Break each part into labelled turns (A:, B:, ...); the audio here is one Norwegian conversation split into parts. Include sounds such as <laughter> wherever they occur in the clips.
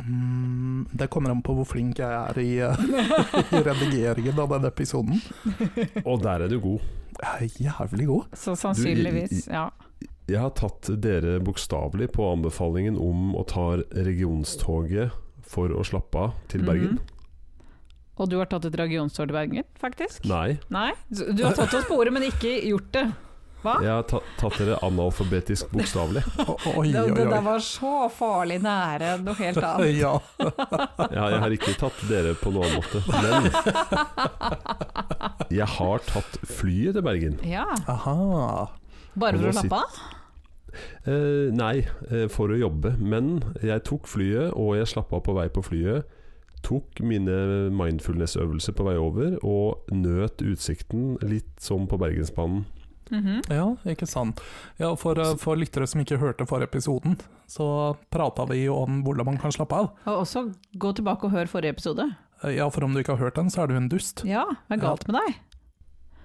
A: Mm, det kommer an på hvor flink jeg er i, eh, <laughs> i redigeringen av den episoden.
B: Og der er du god.
A: Jeg er jævlig god.
C: Så sannsynligvis, ja.
B: Jeg har tatt dere bokstavelig på anbefalingen om å ta regionstoget for å slappe av til Bergen.
C: Mhm. Og du har tatt et regionstår til Bergen, faktisk?
B: Nei,
C: Nei? Så Du har tatt oss på ordet, men ikke gjort det. Hva?
B: jeg har ta tatt dere analfabetisk bokstavelig.
A: O oi,
C: Det,
A: oi,
C: det der
A: oi.
C: var så farlig nære noe helt annet.
A: <laughs> Ja.
B: Ja, jeg har ikke tatt dere på noen annen måte, men jeg har tatt flyet til Bergen.
C: <laughs> Ja,
A: Aha.
C: Bare for
B: Og nå
C: å slappe av?
B: Eh, nei, eh, for å jobbe, men jeg tok flyet, og jeg slapp av på vei på flyet. Tok mine mindfulness-øvelser på vei over, og nøt utsikten litt som på Bergensbanen.
C: Mhm.
A: Ja, ikke sant. Ja, for, eh, for lyttere som ikke hørte forrige episoden, så prata vi jo om hvordan man kan slappe av.
C: Og også gå tilbake og hør forrige episode.
A: Eh, Ja, for om du ikke har hørt den, så er du en dust.
C: Ja, hva er galt med deg?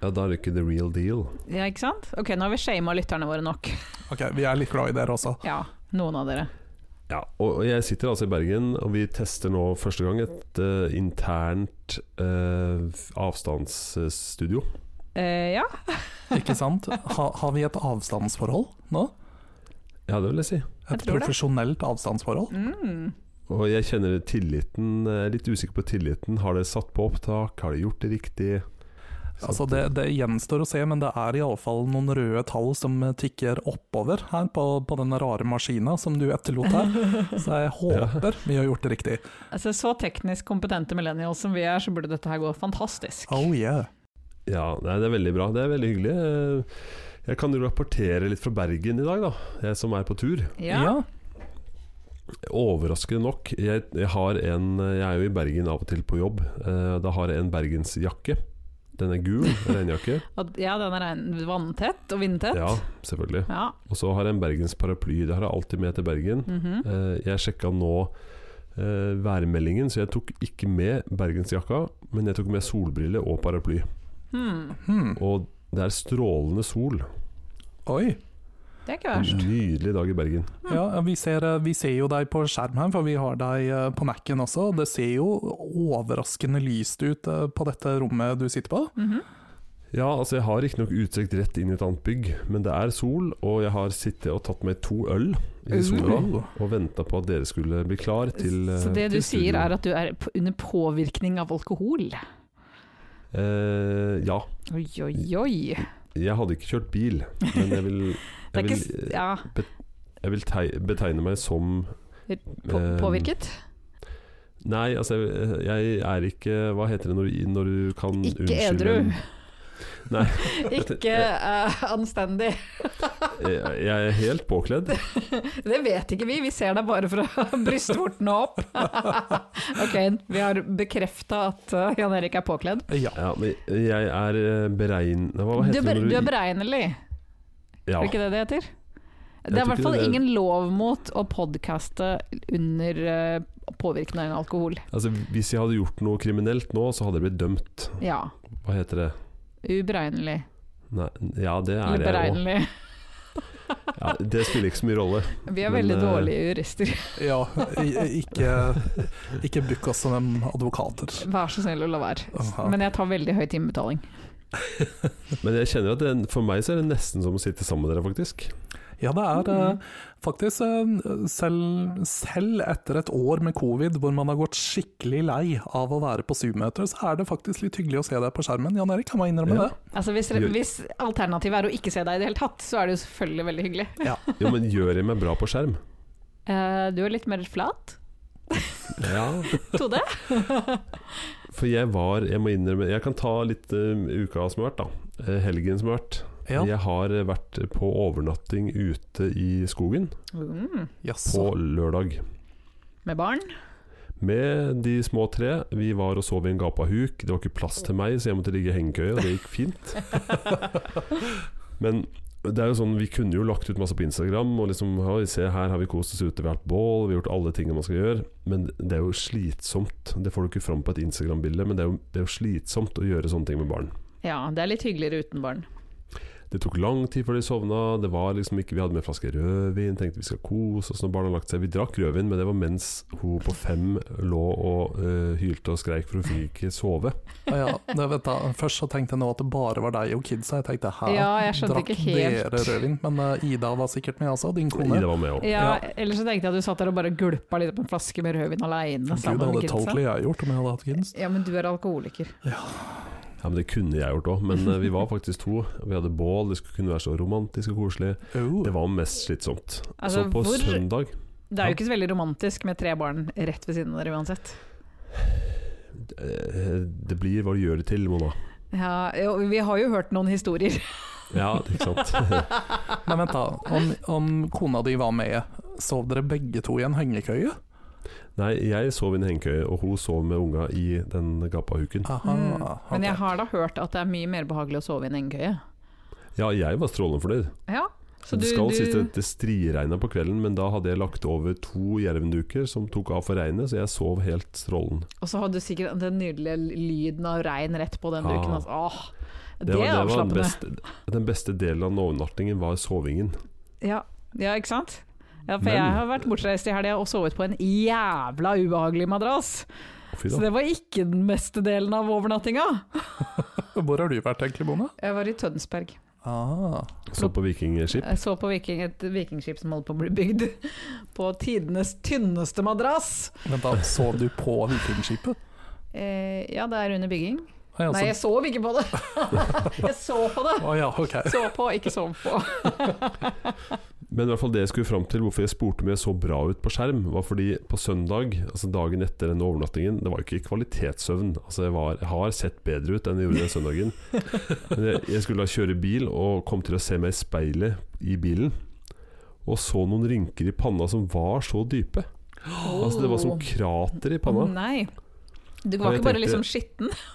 B: Ja, da er det ikke the real deal.
C: Ja, ikke sant? Ok, nå har vi shama lytterne våre nok.
A: Ok, vi er litt glad i dere også.
C: Ja, noen av dere.
B: Ja, og og jeg sitter altså i Bergen, og vi tester nå første gang et eh, internt eh, avstandsstudio.
C: Eh, ja. <laughs>
A: Ikke sant? Ha, har vi et avstandsforhold nå?
B: Ja, det vil jeg si.
A: Et
C: Jeg tror det.
A: profesjonelt avstandsforhold?
C: Mm.
B: Og jeg kjenner tilliten. Jeg er litt usikker på tilliten. Har det satt på opptak? Har det gjort det riktig? Så
A: Altså
B: at-
A: det, det gjenstår å se, men det er iallfall noen røde tall som eh, tikker oppover her på, på den rare maskina som du etterlot her. Så jeg håper vi har gjort det riktig.
C: Altså, så teknisk kompetente millennials som vi er, så burde dette her gå fantastisk.
A: Oh yeah.
B: Ja, nei, det er veldig bra. Det er veldig hyggelig. Eh, Jeg kan jo rapportere litt fra Bergen i dag, da. Jeg som er på tur.
C: Ja.
B: Overraskende nok. Jeg, jeg, har en, jeg er jo i Bergen av og til på jobb. Eh, Da har jeg en bergensjakke. Den er gul, regnjakke.
C: Og- ja, den er regn- vanntett og vindtett.
B: Ja, selvfølgelig.
C: Ja.
B: Og så har jeg en bergensparaply. Det har jeg alltid med til Bergen.
C: Mhm.
B: Eh, Jeg sjekka nå eh, værmeldingen, så jeg tok ikke med bergensjakka, men jeg tok med solbriller og paraply.
C: hmm.
A: Hmm.
B: Og det er strålende sol.
A: Oi.
C: Det er ikke
B: En
C: verst.
B: nydelig dag i Bergen.
A: Ja, vi ser, eh, vi ser jo deg på skjerm her, for vi har deg eh, på Mac-en også. Det ser jo overraskende lyst ut eh, på dette rommet du sitter på.
C: Mhm.
B: Ja, altså jeg har riktignok utsikt rett inn i et annet bygg, men det er sol, og jeg har sittet og tatt meg to øl i sola
A: Uh.
B: og venta på at dere skulle bli klar til
C: Så det du sier er
B: at
C: at du er p- under påvirkning av alkohol?
B: eh, Ja.
C: Oi, oi, oi.
B: Jeg hadde ikke kjørt bil, men jeg vil,
C: <laughs> Det
B: jeg
C: er
B: vil,
C: ikke
B: eh,
C: s- ja,
B: jeg vil tei- betegne meg som
C: på,
B: eh,
C: påvirket?
B: Nei, altså jeg, jeg er ikke Hva heter det når, du- når du kan
C: Ikke
B: unnskylde
C: edru.
B: en- Nei.
C: <laughs>
B: <laughs>
C: Ikke eh, anstendig.
B: Jeg, jeg er helt påkledd.
C: Det vet ikke vi, vi ser deg bare fra <laughs> brystvorten og opp. <laughs> ok, vi har bekrefta at eh, Jan Erik er påkledd.
A: Ja.
B: Ja, men jeg er eh, beregn... Hva
C: Du,
B: heter
C: er
B: det
C: ber-
B: når
C: du er
B: du
C: beregnelig,
B: ja,
C: er det ikke det det heter?
B: tror
C: Det er i
B: ikke
C: hvert fall
B: det er-
C: ingen lov mot å podkaste under eh, påvirkning av alkohol.
B: altså, Hvis jeg hadde gjort noe kriminelt nå, så hadde jeg blitt dømt.
C: Ja.
B: Hva heter det?
C: Uberegnelig.
B: Nei, ja, det er jeg
C: Eller
B: òg.
C: beregnelig.
B: Ja, det spiller ikke så mye rolle.
C: Vi er
B: Men,
C: veldig
B: eh,
C: dårlige jurister. <laughs>
A: ja i- ikke ikke book oss som advokater.
C: Vær så snill å la være.
A: Aha.
C: Men jeg tar veldig høy timebetaling.
B: Men jeg kjenner at det, for meg så er det nesten som å sitte sammen med dere, faktisk.
A: Ja, det er eh, faktisk eh, selv, selv etter et år med covid hvor man har gått skikkelig lei av å være på Zoom-møter, så er det faktisk litt hyggelig å se deg på skjermen. Jan Erik, kan man innrømme
B: Ja.
A: det?
C: Altså hvis,
B: Gjør-
C: hvis alternativet er å ikke se deg i det hele tatt, så er det jo selvfølgelig veldig hyggelig.
B: Jo, men gjør jeg meg bra på skjerm?
C: Eh, du er litt mer flat,
B: Ja. <laughs>
C: Tode.
B: For jeg var Jeg må innrømme Jeg kan ta litt eh, uka som har vært, da. Eh, helgen som har vært.
A: Ja,
B: Jeg har eh, vært på overnatting ute i skogen
C: Mm,
A: jaså.
B: på lørdag
C: med barn.
B: Med de små tre. Vi var og sov i en gapahuk. Det var ikke plass til meg, så jeg måtte ligge i hengekøye, og det gikk fint. Men det er jo sånn, vi kunne jo lagt ut masse på Instagram og liksom Oi, se her har vi kost oss ute ved hvert bål, vi har gjort alle tingene man skal gjøre. Men det er jo slitsomt. Det får du ikke fram på et Instagram-bilde, men det er, jo, det er jo slitsomt å gjøre sånne ting med barn.
C: Ja, det er litt hyggeligere uten barn.
B: Det tok lang tid før de sovna. Det var liksom ikke, Vi hadde med en flaske rødvin, tenkte vi skal kose oss når barna har lagt seg. Vi drakk rødvin, men det var mens hun på fem lå og eh, hylte og skreik for hun fikk ikke sove.
A: Ja, ja, det vet jeg. Først så tenkte jeg nå at det bare var deg og kidsa. Jeg tenkte her
C: Ja, jeg skjønte
A: drakk
C: ikke helt.
A: dere rødvin. Men eh, Ida var sikkert med også, din kone.
B: Ida var med òg.
C: Ja,
A: Ja.
C: Ellers så tenkte jeg at du satt der og bare gulpa litt på en flaske med rødvin aleine.
A: Gud, det hadde totally jeg gjort om jeg hadde hatt kidsa.
C: Ja, men du er alkoholiker.
B: Ja, men det kunne jeg gjort òg, men eh, vi var faktisk to. Vi hadde bål, det skulle kunne være så romantisk og koselig.
A: Oh.
B: Det var mest slitsomt.
C: Altså,
B: så på
C: hvor-
B: søndag
C: Det er jo ikke så veldig romantisk med tre barn rett ved siden av dere uansett.
B: eh, Det blir hva du gjør det til, Mona.
C: Ja, jo, vi har jo hørt noen historier.
B: Ja, ikke sant.
A: Men vent, da. Om, om kona di var med, sov dere begge to i en hengekøye?
B: Nei, jeg sov i en hengekøye, og hun sov med unga i den gapahuken.
A: Aha,
C: Mm. Men jeg
A: ok.
C: har da hørt at det er mye mer behagelig å sove i en engekøye.
B: Ja, jeg var strålende fornøyd.
C: Ja, så du,
B: det skal sies
C: du
B: at det striregna på kvelden, men da hadde jeg lagt over to jervenduker som tok av for regnet, så jeg sov helt strålende.
C: Og så hadde du sikkert den nydelige lyden av regn rett på den
B: Ah.
C: duken. Altså. Åh, det,
B: var-
C: er
B: det var den,
C: avslappende.
B: beste, den beste delen av overnattingen var sovingen.
C: Ja, ja, ikke sant? Ja, for
B: Men-
C: jeg har vært bortreist i helga og sovet på en jævla ubehagelig madrass.
B: Fy
C: Så
B: da.
C: det var ikke den meste delen av overnattinga.
A: Hvor har du vært egentlig, Mona?
C: Jeg var i Tønsberg.
A: Ah.
B: Så på vikingskip.
C: Jeg så på viking, et vikingskip som holdt på å bli bygd. <laughs> På tidenes tynneste madrass.
A: Vent, da. Sov du på vikingskipet?
C: Eh, ja, det er under bygging.
A: Nei,
B: altså-
C: Nei, jeg sov ikke på det! <laughs> jeg så på det!
A: Å ja, ok.
C: Så på, ikke sov på.
B: Men i hvert fall det jeg skulle fram til, hvorfor jeg spurte om jeg så bra ut på skjerm, var fordi på søndag, altså dagen etter denne overnattingen, det var jo ikke kvalitetssøvn. Altså jeg, var, jeg har sett bedre ut enn jeg gjorde den søndagen. Men jeg, jeg skulle da kjøre bil og kom til å se meg i speilet i bilen, og så noen rynker i panna som var så dype. Altså det var som krater i panna.
C: Nei. Du
B: Og
C: var
B: jeg
C: ikke bare
B: tenkte-
C: liksom skitten?
B: Eh,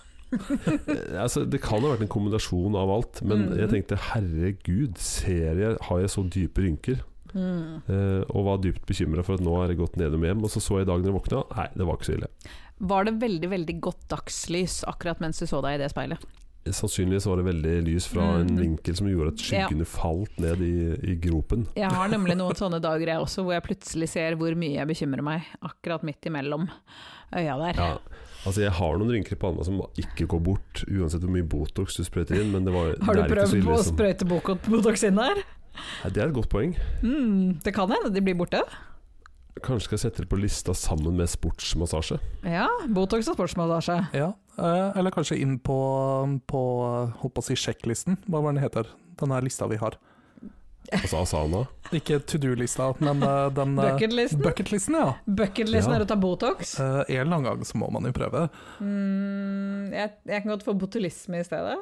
B: Altså, det kan ha vært en kombinasjon av alt, men
C: Mhm.
B: jeg tenkte herregud, ser jeg, har jeg så dype rynker?
C: Mm.
B: Eh, og var dypt bekymra for at nå er det gått nedom hjem. Og så så jeg i dag når jeg våkna, nei, det var ikke så ille.
C: Var det veldig, veldig godt dagslys akkurat mens du så deg i det speilet?
B: Sannsynligvis var det veldig lys fra en
C: Mhm.
B: vinkel som gjorde at skyggene falt ned i, i gropen.
C: Jeg har nemlig noen sånne dager jeg også, hvor jeg plutselig ser hvor mye jeg bekymrer meg, akkurat midt imellom øya der.
B: Ja. Altså, jeg har noen rynker i panna som ikke går bort, uansett hvor mye Botox du sprøyter inn, men det, var,
C: Har
B: det er ikke
C: du
B: så
C: prøvd
B: ille
C: å
B: som-
C: sprøyte Botox inn der?
B: Nei, Det er et godt poeng.
C: Mm, det kan hende de blir borte.
B: Kanskje skal jeg sette det på lista sammen med sportsmassasje.
C: Ja, Botox og sportsmassasje.
A: Ja, eh, eller kanskje inn på, på eh, holdt på å si sjekklisten, hva var den heter? Den her lista vi har.
B: Altså Asana.
A: Ikke to do-lista, men eh, den eh,
C: Bucketlisten?
A: Bucketlisten, ja.
C: Bucketlisten
B: Ja.
C: er å ta Botox.
A: Eh, en eller annen gang så må man jo prøve.
C: Mm, jeg, jeg kan godt få botulisme i stedet.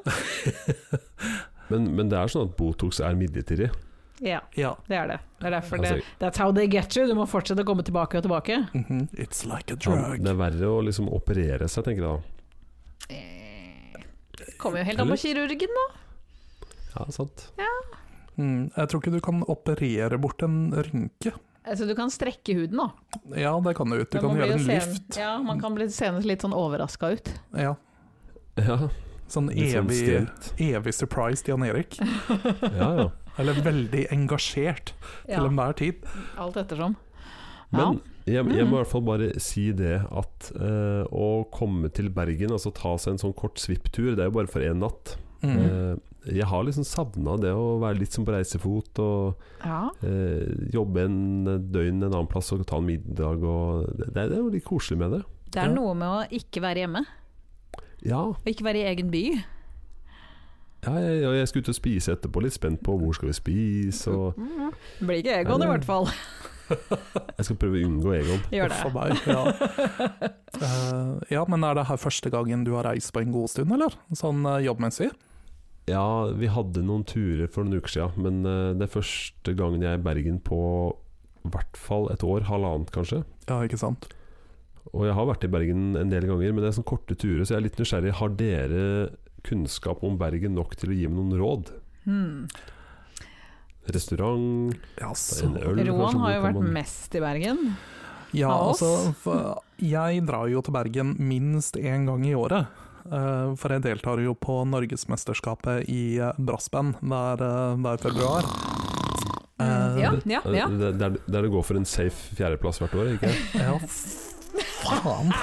B: Men, men det er sånn at Botox er midlertidig.
C: <laughs> Ja,
A: Ja.
C: det er det. Det er derfor det
B: Altså,
C: That's how they get you. Du må fortsette å komme tilbake og tilbake.
A: Mhm. It's like
B: ja,
A: a drug.
B: det er verre å liksom operere seg, tenker jeg da.
C: Eh, Kommer jo helt an på kirurgen, da.
B: Ja, sant.
A: Mm, jeg tror ikke du kan operere bort en rynke.
C: Altså, du kan strekke huden, da.
A: Ja, det kan du. Du
C: Men man blir
A: kan
C: jo
A: gjøre en
C: seende-
A: lift.
C: Ja, man kan bli senest litt sånn overraska ut.
A: Ja,
B: Ja,
A: sånn
B: litt sånn
A: evig,
B: stelt.
A: evig surprised Jan Erik.
B: Ja, ja.
A: Eller veldig engasjert
C: Ja,
A: til enhver tid.
C: alt ettersom. Ja.
B: Men jeg, jeg må i hvert fall bare si det at eh, å komme til Bergen, altså ta seg en sånn kort svipptur, det er jo bare for én natt.
A: Mm.
B: Eh, jeg har liksom savna det å være litt som på reisefot og
C: Ja.
B: eh, jobbe en døgn en annen plass og ta en middag og Det, det er jo litt koselig med det.
C: Det er
A: Ja.
C: noe med å ikke være hjemme,
B: Ja,
C: og ikke være i egen by.
B: ja jeg, og jeg skal ut og spise etterpå, litt spent på hvor skal vi spise og
C: Blir ikke Egon, i
B: Ja,
C: hvert fall.
B: Jeg skal prøve å unngå Egon.
C: Gjør
A: Uff a
C: det.
A: meg,
C: <laughs>
A: ja. Eh, ja, men er det her første gangen du har reist på en god stund, eller? Sånn eh, jobbmessig?
B: Ja, vi hadde noen turer for noen uker siden, men eh, det er første gangen jeg er i Bergen på i hvert fall et år, halvannet kanskje.
A: Ja, ikke sant?
B: Og jeg har vært i Bergen en del ganger, men det er sånn korte turer, så jeg er litt nysgjerrig. Har dere kunnskap om Bergen nok til å gi meg noen råd?
C: Hmm.
B: Restaurant,
A: Ja,
B: det er
A: så
B: en øl
C: Roan
B: kanskje,
C: har
B: hvor
C: jo
B: kan
C: vært
B: man-
C: mest i Bergen.
A: <laughs>
C: <laughs>
A: Ja,
C: Av oss?
A: altså for Jeg drar jo til Bergen minst én gang i året. eh, For jeg deltar jo på Norgesmesterskapet i eh, brassband der, eh, der i februar.
C: Mm,
A: Eh,
C: ja, ja, ja.
B: Det, det, er- det er det går for en safe fjerdeplass hvert år, ikke
A: ja, faen!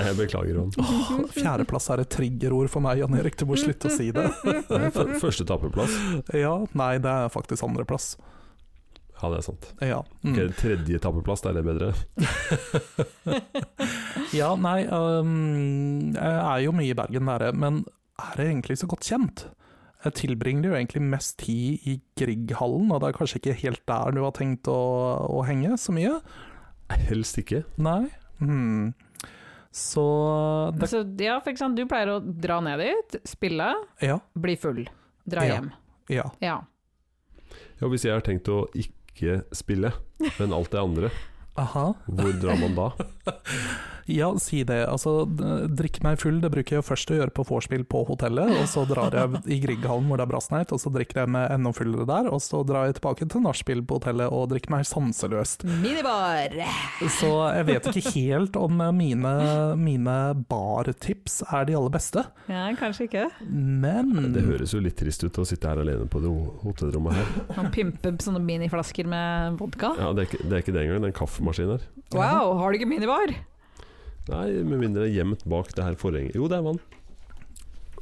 B: Jeg beklager, Roan.
A: Åh,
C: <laughs>
A: Fjerdeplass er et triggerord for meg, Jan Erik. Du må slutte å si det.
B: Det er f- Første tappeplass.
A: Ja, nei, det er faktisk andreplass.
B: Ja, det er sant.
A: Ja. Mm.
B: Ok, tredje tappeplass, da er det bedre.
A: Ja, nei, øhm, jeg er jo mye i Bergen nære, men er jeg egentlig så godt kjent? Jeg tilbringer jo egentlig mest tid i Grieghallen, og det er kanskje ikke helt der du har tenkt å, å henge så mye?
B: Helst ikke.
A: Nei. Hmm. Så det,
C: Så, ja, for eksempel, du pleier å dra ned dit, spille,
A: Ja.
C: bli full, dra
A: Ja.
C: hjem.
A: ja.
C: Ja.
B: Ja, hvis jeg har tenkt å ikke spille, men alt det andre,
A: Aha.
B: hvor drar man
C: <laughs>
B: da?
A: Ja, si det. Altså, d- drikk meg full, det bruker jeg jo først å gjøre på vorspiel på hotellet, og så drar jeg i Grieghallen hvor det er brassnight, og så drikker jeg meg enda fullere der, og så drar jeg tilbake til nachspiel på hotellet og drikker meg sanseløst.
C: Minibar!
A: Så jeg vet ikke helt om mine, mine bartips er de aller beste,
C: Ja, kanskje ikke.
A: men
B: Det høres jo litt trist ut å sitte her alene på det ho- hotellrommet her.
C: Han pimper sånne miniflasker med vodka.
B: Ja, det er ikke det, er ikke det engang, det er en kaffemaskin her.
C: Wow, har du ikke minibar?
B: Nei, med mindre det er gjemt bak det her forhenget. Jo, det er vann.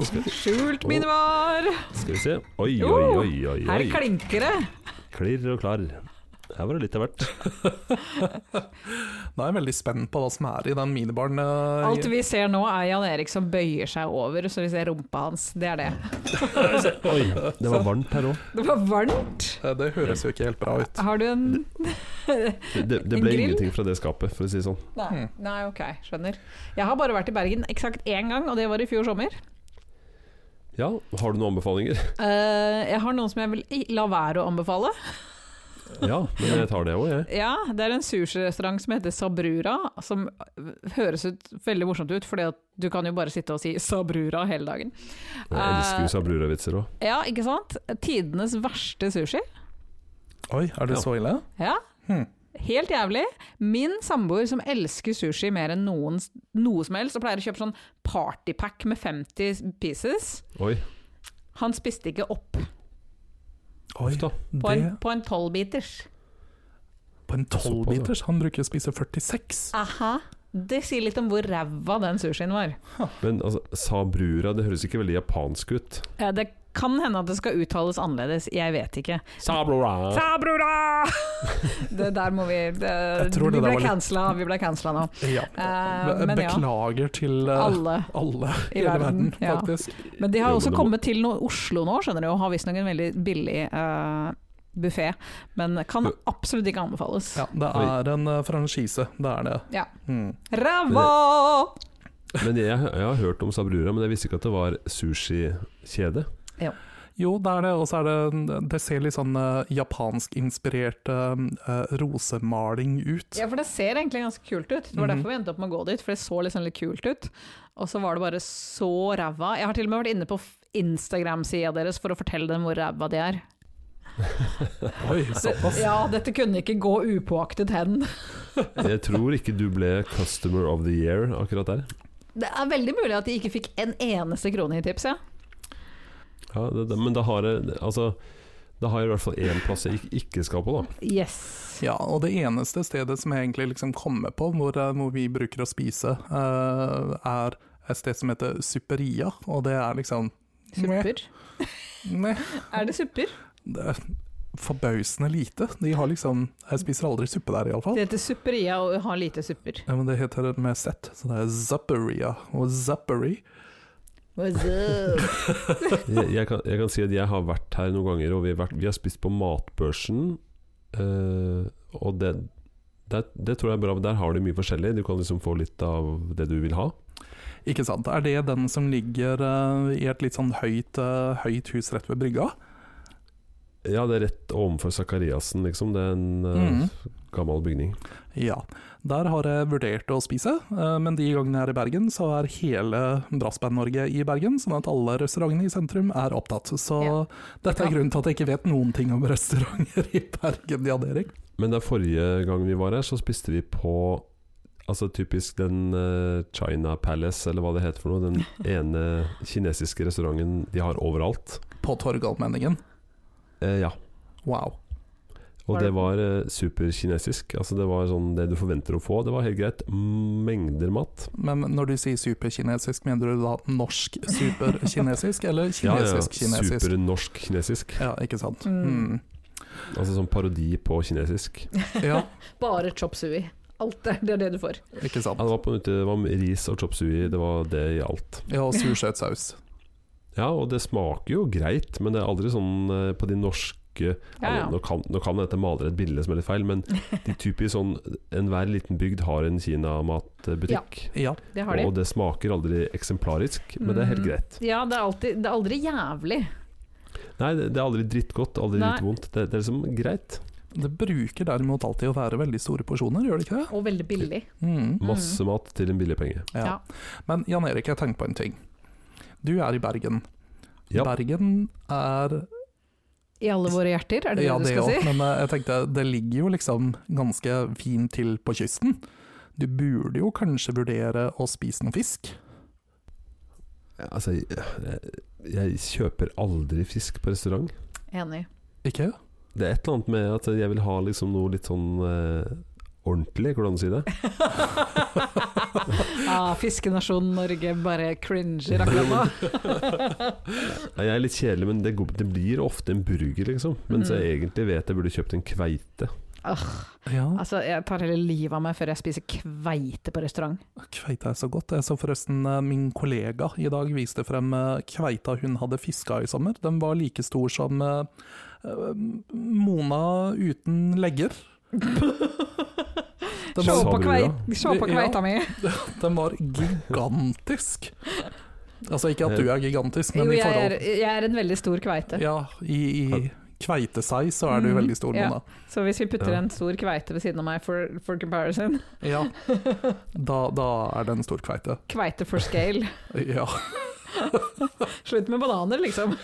B: Skal,
C: Skjult minibar!
B: skal vi se. Oi,
C: Jo,
B: oi, oi, oi.
C: Her
B: oi.
C: klinker det!
B: Klirr og klarr. Her var det litt av hvert.
A: da er jeg veldig spent på hva som er i den minibaren. eh,
C: Alt vi ser nå er Jan Erik som bøyer seg over, så vi ser rumpa hans. Det er det.
B: Oi, det var varmt her òg.
C: Det var varmt!
A: eh, Det høres jo ikke helt bra ut.
C: Har du en
B: Det, det
C: En
B: ble
C: grill?
B: ingenting fra det skapet, for å si det sånn.
C: Nei, nei, ok, skjønner. Jeg har bare vært i Bergen eksakt én gang, og det var i fjor sommer.
B: Ja, har du noen
C: <laughs>
B: anbefalinger?
C: Eh, jeg har noen som jeg vil i- la være å anbefale.
B: Ja, men jeg tar det òg, jeg.
C: Ja, Det er en sushirestaurant som heter Sabrura, som høres ut, veldig morsomt ut, fordi at du kan jo bare sitte og si Sabrura hele dagen. Eh,
B: Jeg elsker jo Sabrura-vitser òg.
C: Ja, ikke sant? Tidenes verste sushi.
A: Oi, er det
B: Ja.
A: så ille?
C: Ja.
A: Hmm.
C: Helt jævlig. Min samboer som elsker sushi mer enn noen, noe som helst, og pleier å kjøpe sånn partypack med 50 pieces,
B: Oi.
C: han spiste ikke opp
A: Oi,
B: Uff da.
C: på en,
A: det,
C: på en 12-biters.
A: på en tolvbiters? Han bruker å spise 46.
C: Aha. Det sier litt om hvor ræva den sushien var.
B: Men altså, Sabrura, det høres ikke veldig japansk ut.
C: Ja, det kan hende at det skal uttales annerledes, jeg vet ikke.
B: Sabrura!
A: <laughs>
C: Sabrura! det der må vi det,
A: Jeg
C: Vi
A: tror det der
C: ble
A: var litt-
C: cancela, vi ble cancela nå.
A: Ja.
C: Eh,
A: Be-
C: men ja.
A: Beklager til eh,
C: Alle.
A: alle
C: I
A: i hele verden,
C: verden, ja.
A: faktisk.
C: Men de har
B: Jo,
C: også
B: men det må-
C: kommet til noe Oslo nå, skjønner du, og har visstnok en veldig billig uh, buffé. Men kan absolutt ikke anbefales.
A: Ja, det er en eh, franchise, det er det.
C: Ja.
A: Hmm.
C: Ræva!
B: Men jeg, jeg har hørt om Sabrura, men jeg visste ikke at det var sushikjede.
A: Jo, det er det. Og så er det Det ser litt sånn eh, japansk-inspirert eh, eh, rosemaling ut.
C: Ja, for det ser egentlig ganske kult ut. Det var
A: Mhm.
C: derfor vi endte opp med å gå dit, for det så liksom litt kult ut. Og så var det bare så ræva. Jeg har til og med vært inne på f- Instagram-sida deres for å fortelle dem hvor ræva de er.
A: Oi, såpass.
C: Ja, dette kunne ikke gå upåaktet hen.
B: Jeg tror ikke du ble customer of the year akkurat der.
C: Det er veldig mulig at de ikke fikk en eneste krone i tips, ja.
B: Ja, det, det, men da har jeg Altså, da har jeg i hvert fall én plass jeg ikke- ikke skal på, da.
C: Yes.
A: Ja, og det eneste stedet som jeg egentlig liksom kommer på hvor, eh, hvor vi bruker å spise, eh, er et sted som heter Supperia, og det er liksom
C: Supper.
A: Nei,
C: Er det supper?
A: det er forbausende lite. De har liksom Jeg spiser aldri suppe der, iallfall.
C: Det heter supperia og har lite supper.
A: Ja, men det heter det med Z, så det er Zapperia og Zapperi.
B: Jeg, jeg, kan, jeg kan si at jeg har vært her noen ganger, og vi har, vært, vi har spist på Matbørsen. eh, og det, det, det tror jeg er bra. men Der har de mye forskjellig. Du kan liksom få litt av det du vil ha.
A: Ikke sant. Er det den som ligger eh, i et litt sånn høyt, eh, høyt hus rett ved brygga?
B: Ja, det er rett ovenfor Sakariassen, liksom. Det er en eh,
A: Mhm.
B: gammel bygning.
A: Ja. Der har jeg vurdert å spise, eh, men de gangene jeg er i Bergen, så er hele Brassband-Norge i Bergen, sånn at alle restaurantene i sentrum er opptatt. Så
C: Ja.
A: dette er grunnen til at jeg ikke vet noen ting om <laughs> restauranter i Bergen, Jan Erik.
B: Men da forrige gang vi var her, så spiste vi på Altså typisk den eh, China Palace, eller hva det heter for noe. Den ene kinesiske restauranten de har overalt.
A: På Torgallmenningen.
B: Eh, ja.
A: Wow.
B: Og
C: Var
B: det
C: det-
B: var eh, superkinesisk. Altså det var sånn det du forventer å få. Det var helt greit. Mengder mat.
A: Men når du sier superkinesisk, mener du da norsk superkinesisk, eller
B: Ja, ja, ja.
A: kinesisk-kinesisk?
B: Supernorsk-kinesisk.
A: Ja, ikke sant.
C: Mm.
A: Mm.
B: Altså sånn parodi på kinesisk.
A: Ja,
C: <laughs> Bare chop sui. Alt er, det er det du får.
B: Ja,
A: ikke
B: det
A: sant.
B: var på en måte det var ris og chop sui, det var det i alt.
A: Ja, og sursøt saus.
B: Ja, og det smaker jo greit, men det er aldri sånn eh, på de norske
C: Ja, ja.
B: Nå, kan, nå kan dette maler et bilde som er litt feil, men de typisk sånn Enhver liten bygd har en kinamatbutikk.
A: Ja,
C: Det har de.
B: Og det smaker aldri eksemplarisk, men det er helt
C: Mm.
B: greit.
C: Ja, det er, alltid, det er aldri jævlig.
B: Nei, det, det er aldri drittgodt, aldri
C: Nei.
B: drittvondt. Det, det er liksom greit.
A: det bruker derimot alltid å være veldig store porsjoner, gjør det ikke det?
C: Og veldig billig.
A: Mm.
B: Masse mat til en billig penge.
A: Ja.
C: Ja.
A: Men Jan Erik, jeg tenker på en ting. Du er i Bergen.
B: Ja.
A: Bergen er
C: I alle våre hjerter, er det det
A: Ja,
C: du
A: det
C: skal
A: òg,
C: si?
A: men eh, jeg tenkte det ligger jo liksom ganske fint til på kysten. Du burde jo kanskje vurdere å spise noe fisk.
B: Altså, jeg, jeg kjøper aldri fisk på restaurant.
C: Enig. <laughs>
A: Ikke?
B: Det er et eller annet med at jeg vil ha liksom noe litt sånn eh, ordentlig, hvordan si det?
C: Ja, Ah, Fiskenasjonen Norge bare cringer akkurat nå.
A: <laughs>
B: Nei, Jeg er litt kjedelig, men det, går- det blir ofte en burger, liksom. Mens
C: Mm.
B: jeg egentlig vet jeg burde kjøpt en kveite.
A: Ja,
C: Altså, jeg tar hele livet av meg før jeg spiser kveite på restaurant.
A: kveita er så godt. Jeg så forresten eh, min kollega i dag viste frem eh, kveita hun hadde fiska i sommer. Den var like stor som eh, eh, Mona uten
C: <laughs>
A: legger. Den
C: Se
B: Sa
A: var,
C: på,
B: du
C: kvei,
B: det?
C: se på
A: Ja.
C: kveita mi!
A: den var gigantisk. Altså ikke at du er gigantisk,
C: Jo,
A: men i
C: jeg
A: forhold
C: er, jeg er en veldig stor kveite.
A: Ja, i, i kveitesei så er du
C: Mm,
A: veldig stor,
C: ja.
A: Mona.
C: Så hvis vi putter
B: Ja.
C: en stor kveite ved siden av meg for, for comparison
A: Ja.
C: <laughs>
A: Da, da er det en stor kveite.
C: Kveite for scale.
A: Ja.
C: Slutt med bananer, liksom.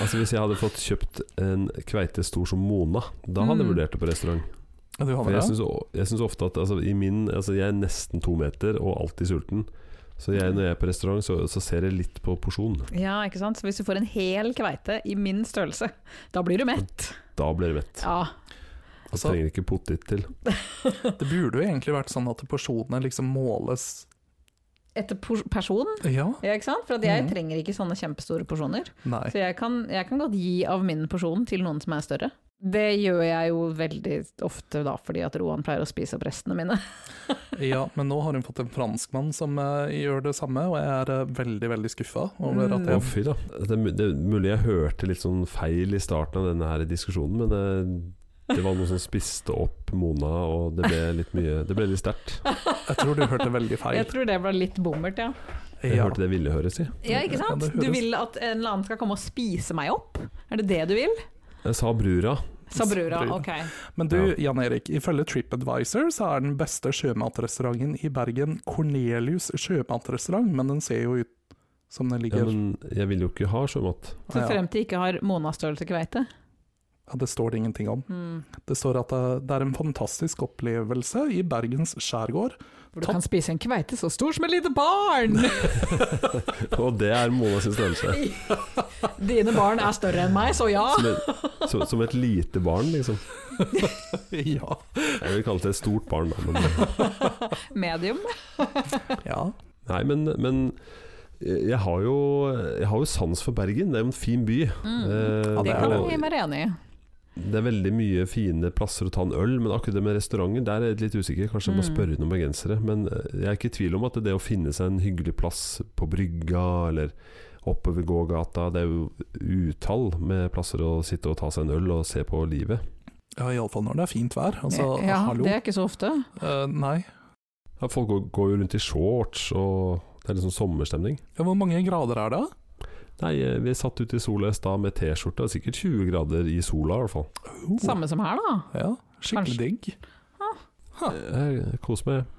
B: Altså Hvis jeg hadde fått kjøpt en kveite stor som Mona, da hadde jeg
C: Mm.
B: vurdert det på restaurant.
A: Du har
B: For
A: med
B: jeg
A: det?
B: syns o- jeg syns ofte at altså, i min, altså, jeg er nesten to meter og alltid sulten. Så jeg, når jeg er på restaurant, så, så ser jeg litt på porsjon.
C: Ja, ikke sant? Så hvis du får en hel kveite i min størrelse, da blir du mett.
B: Da blir jeg mett.
C: Ja,
B: Jeg
A: Altså,
B: trenger ikke potet til.
A: det burde jo egentlig vært sånn at porsjonene liksom måles
C: etter por- person,
A: Ja,
C: ja, ikke sant? For at jeg
A: Mhm.
C: trenger ikke sånne kjempestore porsjoner.
A: nei.
C: Så jeg kan, jeg kan godt gi av min porsjon til noen som er større. Det gjør jeg jo veldig ofte da, fordi at Roan pleier å spise opp restene mine.
A: <laughs> Ja, men nå har hun fått en franskmann som eh, gjør det samme, og jeg er eh, veldig, veldig skuffa over at
B: Å,
A: jeg
B: fy da. Det, er mu- det er mulig jeg hørte litt sånn feil i starten av denne her diskusjonen, men det, det var noe som spiste opp Mona, og det ble litt mye Det ble litt sterkt.
A: <laughs> Jeg tror du hørte
C: <laughs>
A: veldig
C: Jeg
A: feil.
C: tror det var litt bommert, ja.
B: Jeg
A: Ja.
B: hørte det ville høres i.
C: Ja, ikke sant?
A: Ja, det høres-
C: Du vil at en eller annen skal komme og spise meg opp? Er det det du vil?
B: Jeg sa brura.
C: Sa brura,
A: Brura.
C: ok.
A: Men du, Jan Erik, ifølge TripAdvisor så er den beste sjømatrestauranten i Bergen Cornelius sjømatrestaurant, men den ser jo ut som den
B: Ja,
A: ligger ja,
B: men jeg vil jo ikke ha sjømat.
C: Så
A: ja.
C: frem til ikke har Mona-størrelse kveite.
A: ja, Det står det ingenting om.
C: Mm.
A: Det står at eh, det det er en fantastisk opplevelse i Bergens
C: <laughs>
A: skjærgård.
C: Hvor du
A: Topp.
C: kan spise en kveite så stor som et lite barn!
B: <laughs> Og det er Mona sin størrelse.
C: <laughs> Dine barn er større enn meg, så ja.
B: Som et, som, som et lite barn, liksom.
A: ja.
B: Jeg vil kalle det et stort barn. Da, men,
C: Medium.
A: ja.
B: nei, men, men jeg har, jo, jeg har jo sans for Bergen. Det er jo en fin by. Eh,
C: Mm. Det
A: Mm. Ja, det er
C: kan
B: og-
C: jeg gi meg enig i.
B: Det er veldig mye fine plasser å ta en øl, men akkurat det med restauranter, der er jeg litt usikker. Kanskje jeg må
C: Mm.
B: spørre noen bergensere. Men eh, jeg er ikke i tvil om at det å finne seg en hyggelig plass på brygga eller oppover gågata, det er jo utall med plasser å sitte og ta seg en øl og se på livet.
A: ja iallfall når det er fint vær. Altså,
C: ja,
A: hallo.
C: det er ikke så ofte.
A: Eh, nei.
B: Ja, folk går, går jo rundt i shorts, og det er liksom sommerstemning.
A: Ja, hvor mange grader er det?
B: Nei, eh, vi satt ute i sola i stad med T-skjorta, sikkert 20 grader i sola i hvert fall.
A: Oh,
C: Samme som her, da.
A: Ja, skikkelig
C: Kanskje.
A: digg.
B: Eh, Jeg koser meg.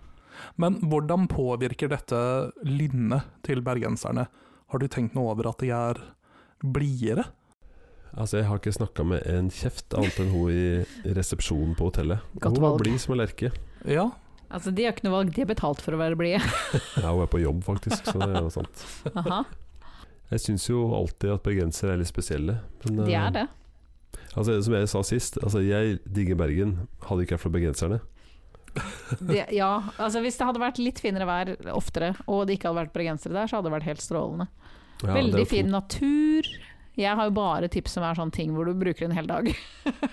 A: Men hvordan påvirker dette lynnet til bergenserne? Har du tenkt noe over at de er blidere?
B: Altså, jeg har ikke snakka med en kjeft annet enn hun i resepsjonen på hotellet.
C: Godt
B: hun var
C: valg.
B: blid som en lerke.
A: Ja,
C: Altså, De har ikke noe valg, de er betalt for å være blide.
B: Ja, hun er på jobb, faktisk, så det er jo sant.
C: <laughs> Aha,
B: Jeg syns jo alltid at bergensere er litt spesielle. men,
C: De
B: eh,
C: er det.
B: Altså, som jeg sa sist, altså, jeg digger Bergen. Hadde ikke vært for bergenserne.
C: De, ja, altså Hvis det hadde vært litt finere vær oftere, og det ikke hadde vært bergensere der, så hadde det vært helt strålende.
B: Ja, det er
C: Veldig
B: jo to-
C: fin natur. Jeg har jo bare tips som er sånne ting hvor du bruker en hel dag.
B: Altså,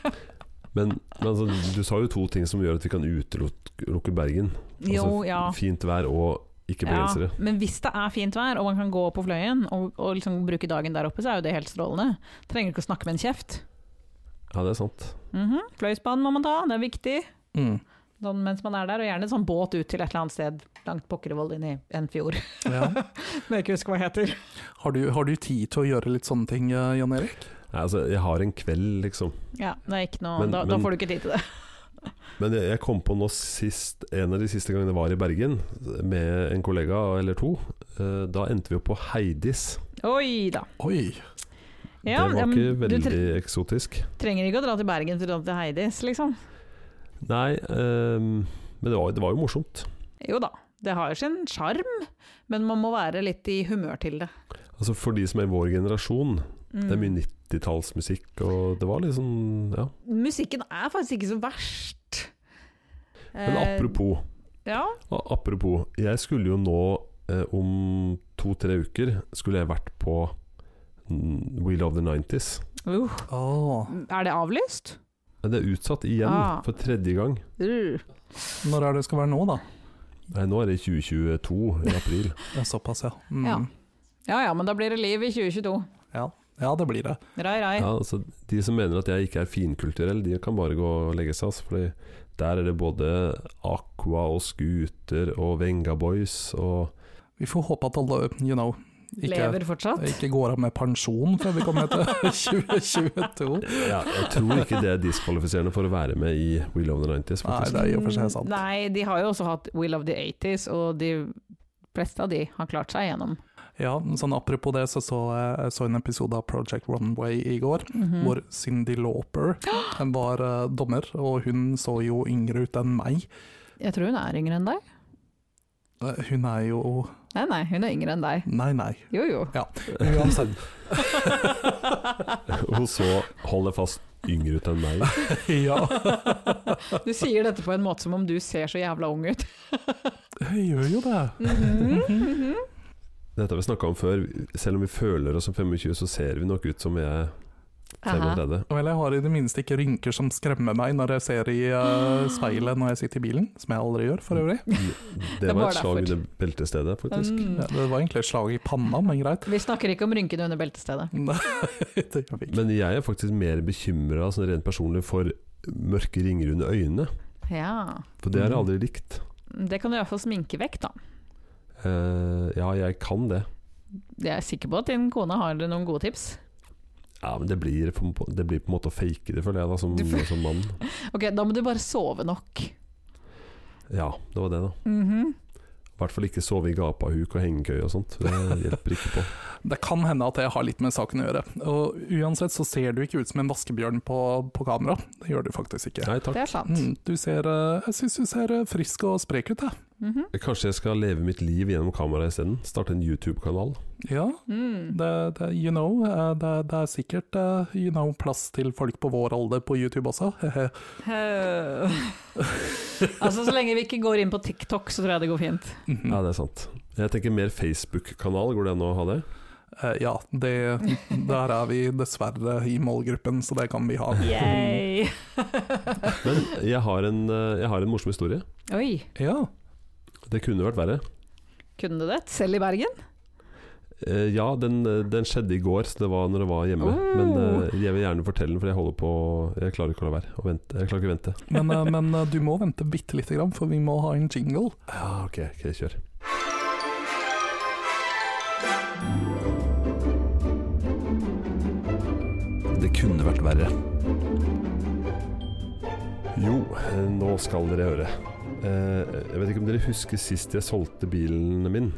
B: Men, men altså, du sa jo to ting som gjør at vi kan utelukke Bergen. Altså,
C: Jo, ja.
B: Fint vær og ikke bergensere.
C: Ja, men hvis det er fint vær, og man kan gå på fløyen og, og liksom bruke dagen der oppe, så er jo det helt strålende. Trenger ikke å snakke med en kjeft.
B: Ja, det er sant.
C: Mhm. Fløyspann må man ta, det er viktig.
A: mm.
C: Sånn mens man er der, og gjerne en sånn båt ut til et eller annet sted langt pokkervoll inn i en fjord.
B: <laughs>
A: ja.
C: Når jeg ikke husker hva det heter.
A: Har, du, har du tid til å gjøre litt sånne ting, eh, Jan Erik?
B: Nei, altså, jeg har en kveld, liksom.
C: Ja, det er ikke noe,
B: Men-
C: da, da
B: men-
C: får du ikke tid til det.
B: Men jeg, jeg kom på nå sist, en av de siste gangene jeg var i Bergen, med en kollega eller to. Eh, da endte vi opp på Heidis.
C: Oi da.
A: Oi,
C: Ja,
B: det var
C: ja, men
B: ikke
C: du
B: veldig
C: tre-
B: eksotisk.
C: trenger ikke å dra til Bergen for å dra til Heidis, liksom.
B: Nei, eh, men det var, det var jo morsomt.
C: Jo da, det har jo sin sjarm, men man må være litt i humør til det.
B: Altså For de som er i vår generasjon, det er mye
C: Mm.
B: 90-tallsmusikk, og det var litt sånn Ja.
C: Musikken er faktisk ikke så verst.
B: Men apropos.
C: Eh, Ja,
B: Og apropos, jeg skulle jo nå eh, om to-tre uker skulle jeg vært på mm, We Love the 90s.
C: Uh,
A: Åh.
C: er det avlyst?
B: Men det er utsatt igjen
C: Ah.
B: for tredje gang.
C: Uh.
A: når er det skal være nå da?
B: Nei, nå er det 2022 i april.
A: Ja, Såpass, ja. Mm.
C: Ja. Ja ja, men da blir det liv i 2022.
A: ja. Ja, det blir det.
C: Rai rai.
B: Ja, altså, de som mener at jeg ikke er finkulturell, de kan bare gå og legge seg. Altså, fordi der er det både Aqua og Scooter og Venga Boys og
A: Vi får håpe at alle, you know, ikke,
C: Lever fortsatt.
A: ikke går av med pensjon før vi
C: <laughs>
A: kommer til 2022.
B: ja, <laughs> Jeg tror ikke det er diskvalifiserende for å være med i We Love the 90s.
A: Nei,
B: Faktisk.
A: det er i og for seg sant.
C: Nei, de har jo også hatt We Love the 80s, og de fleste av de har klart seg gjennom.
A: Ja, sånn apropos det, så så jeg så en episode av Project Runway i går,
C: Mhm. Mm.
A: hvor Cindy Lauper var eh, dommer, og hun så jo yngre ut enn meg.
C: Jeg tror hun er yngre enn deg.
A: Eh, Hun er jo
C: Nei, nei, hun er yngre enn deg.
A: Nei, nei.
C: Jo
A: <laughs>
C: jo.
A: Uansett.
B: <laughs> Og så holder jeg fast yngre ut enn meg.
A: ja,
C: Du sier dette på en måte som om du ser så jævla ung ut.
A: jeg gjør jo det.
C: Mhm, mhm.
B: Dette har vi snakka om før. Selv om vi føler oss som 25, så ser vi nok ut som vi er
C: Aha.
B: 35.
A: Vel, jeg har i det minste ikke rynker som skremmer meg når jeg ser i eh, speilet når jeg sitter i bilen, som jeg aldri gjør for øvrig.
B: Det
C: var
B: var et slag i
C: derfor.
B: det beltestedet, faktisk.
C: Mm.
A: Ja, det var egentlig et slag i panna, men greit. <laughs>
C: Vi snakker ikke om rynkene under beltestedet.
A: Nei, det gjør vi ikke.
B: Men jeg er faktisk mer bekymra sånn rent personlig for mørke ringer under øynene.
C: Ja.
B: For det har jeg aldri likt.
C: Det kan du iallfall sminke vekk, da.
B: Eh, ja, jeg kan det.
C: Jeg er sikker på at din kone har noen gode tips.
B: Ja, men det blir, på, det blir på en måte å fake det, føler jeg, da, som,
C: Du får-
B: <laughs> som mann.
C: Ok, da må du bare sove nok.
B: Ja, det var det, da.
C: Mhm.
B: I hvert fall ikke sove i gapahuk og hengekøye og sånt. Det hjelper ikke på.
C: <laughs>
A: Det kan hende at det har litt med saken å gjøre. Og uansett så ser du ikke ut som en vaskebjørn på, på kamera. Det gjør du faktisk ikke.
B: Nei
C: Det
B: takk.
C: er sant.
A: Mm, du ser, eh, jeg syns du ser eh, frisk og sprek ut, jeg.
C: Mhm.
B: Kanskje jeg skal leve mitt liv gjennom kameraet isteden? Starte en YouTube-kanal?
A: Ja,
C: Mm.
A: det, det, you know, eh, det, det er sikkert eh, you know, plass til folk på vår alder på YouTube også. <laughs> Eh,
C: Øh. altså, så lenge vi ikke går inn på TikTok, så tror jeg det går fint.
A: Mhm.
B: Ja, det er sant. Jeg tenker mer Facebook-kanal, går det an å ha det?
A: Eh, ja, det, der er vi dessverre i målgruppen, så det kan vi ha.
C: Yay!
B: Men jeg har en, eh, jeg har en morsom historie.
C: <laughs> Oi,
A: Ja,
B: Det kunne vært verre.
C: kunne du det? Selv i Bergen?
B: Eh, ja, den, eh, den skjedde i går, så det var når jeg var hjemme.
C: Oh.
B: Men eh, jeg vil gjerne fortelle den, for jeg holder på Jeg klarer ikke å la være å vente. Jeg klarer ikke å vente.
A: men, eh, men eh, du må vente bitte lite grann, for vi må ha en jingle.
B: Ja, ok, ok, kjør. kunne vært verre. Jo, eh, nå skal dere høre. Eh, Jeg vet ikke om dere husker sist jeg solgte bilen min.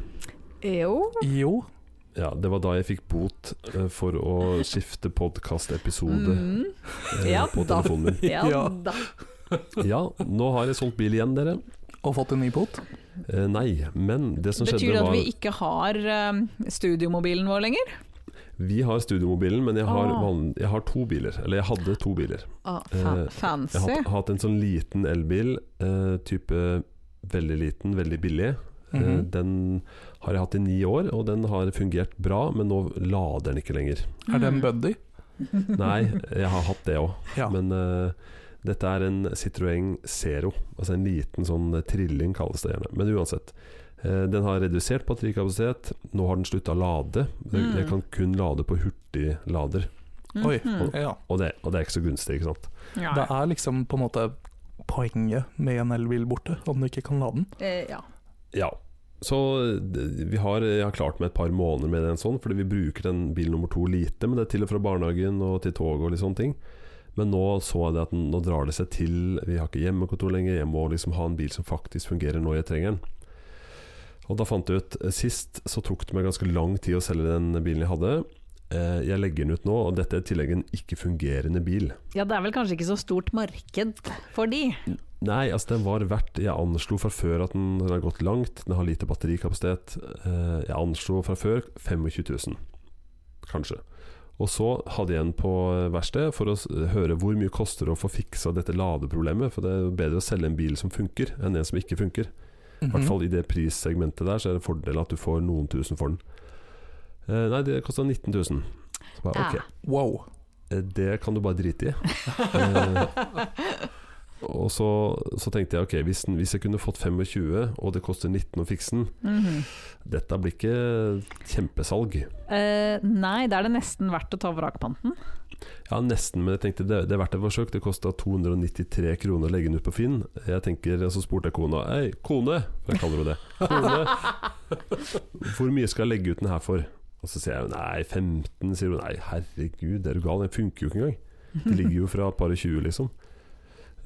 C: Jo.
A: Jo.
B: Ja, Det var da jeg fikk bot eh, for å skifte podkastepisode
C: Mm.
B: eh,
C: Ja,
B: på
C: da.
B: telefonen min.
C: Ja,
A: Ja.
C: da.
B: <laughs> Ja, nå har jeg solgt bil igjen, dere.
A: Og fått en ny bot?
B: Eh, Nei, men det som
C: Betyr det
B: skjedde
C: at
B: var
C: vi ikke har eh, studiomobilen vår lenger?
B: Vi har studiomobilen, men jeg har,
C: Ah.
B: vanlig, jeg har to biler. Eller jeg hadde to biler.
C: Ah, fa
B: Eh,
C: fancy.
B: Jeg har hatt, hatt en sånn liten elbil, eh, type veldig liten, veldig billig. Eh,
A: Mhm.
B: Den har jeg hatt i ni år, og den har fungert bra, men nå lader den ikke lenger.
A: Er det en buddy?
B: Nei, jeg har hatt det òg,
A: Ja.
B: men eh, dette er en Citroën Zero. Altså en liten sånn trilling, kalles det gjerne. Men uansett. eh, Den har redusert batterikapasitet. Nå har den slutta å lade. Jeg- Jeg
C: Mm.
B: kan kun lade på hurtiglader,
C: Mm.
A: Oi.
C: Mm.
A: Ja.
B: og det, og det er ikke så gunstig, ikke sant.
C: Ja.
A: Det er liksom på en måte poenget med en elbil borte, om du ikke kan lade den.
C: Eh, ja.
B: Ja. Så d- vi har, jeg har klart med et par måneder med en sånn, fordi vi bruker den bil nummer to lite, men det er til og fra barnehagen og til tog og litt sånne ting. Men nå så jeg det at nå drar det seg til, vi har ikke hjemmekontor lenger, jeg må liksom ha en bil som faktisk fungerer når jeg trenger den. Og da fant jeg ut, eh, sist så tok det meg ganske lang tid å selge den bilen jeg hadde. Eh, Jeg legger den ut nå, og dette er i tillegg en ikke-fungerende bil.
C: ja, det er vel kanskje ikke så stort marked for de.
B: Nei, altså den var verdt Jeg anslo fra før at den, den har gått langt. Den har lite batterikapasitet. Eh, jeg anslo fra før 25 000, kanskje. Og så hadde jeg en på eh, verksted for å s- høre hvor mye koster det å få fiksa dette ladeproblemet. For det er jo bedre å selge en bil som funker, enn en som ikke funker. I
A: Mhm.
B: hvert fall i det prissegmentet der, så er det en fordel at du får noen tusen for den. Eh, nei, det kosta 19 000. Så bare,
C: Ja.
B: ok,
A: Wow.
B: Eh, Det kan du bare drite i. Eh, og så, så tenkte jeg ok, hvis, den, hvis jeg kunne fått 25, og det koster 19 å fikse den
C: Mhm.
B: Dette blir ikke kjempesalg.
C: Eh, nei, da er det nesten verdt å ta vrakpanten.
B: Ja, nesten, men jeg tenkte det, det er verdt et forsøk. Det kosta 293 kroner å legge den ut på Finn. Jeg tenker, Så spurte jeg kona Hei, kone, for jeg kaller henne det. Kone, <laughs> hvor mye skal jeg legge ut den her for? Og så sier jeg nei, 15, sier hun. Nei, herregud, er du gal? Den funker jo ikke engang. Det ligger jo fra et par og 20, liksom.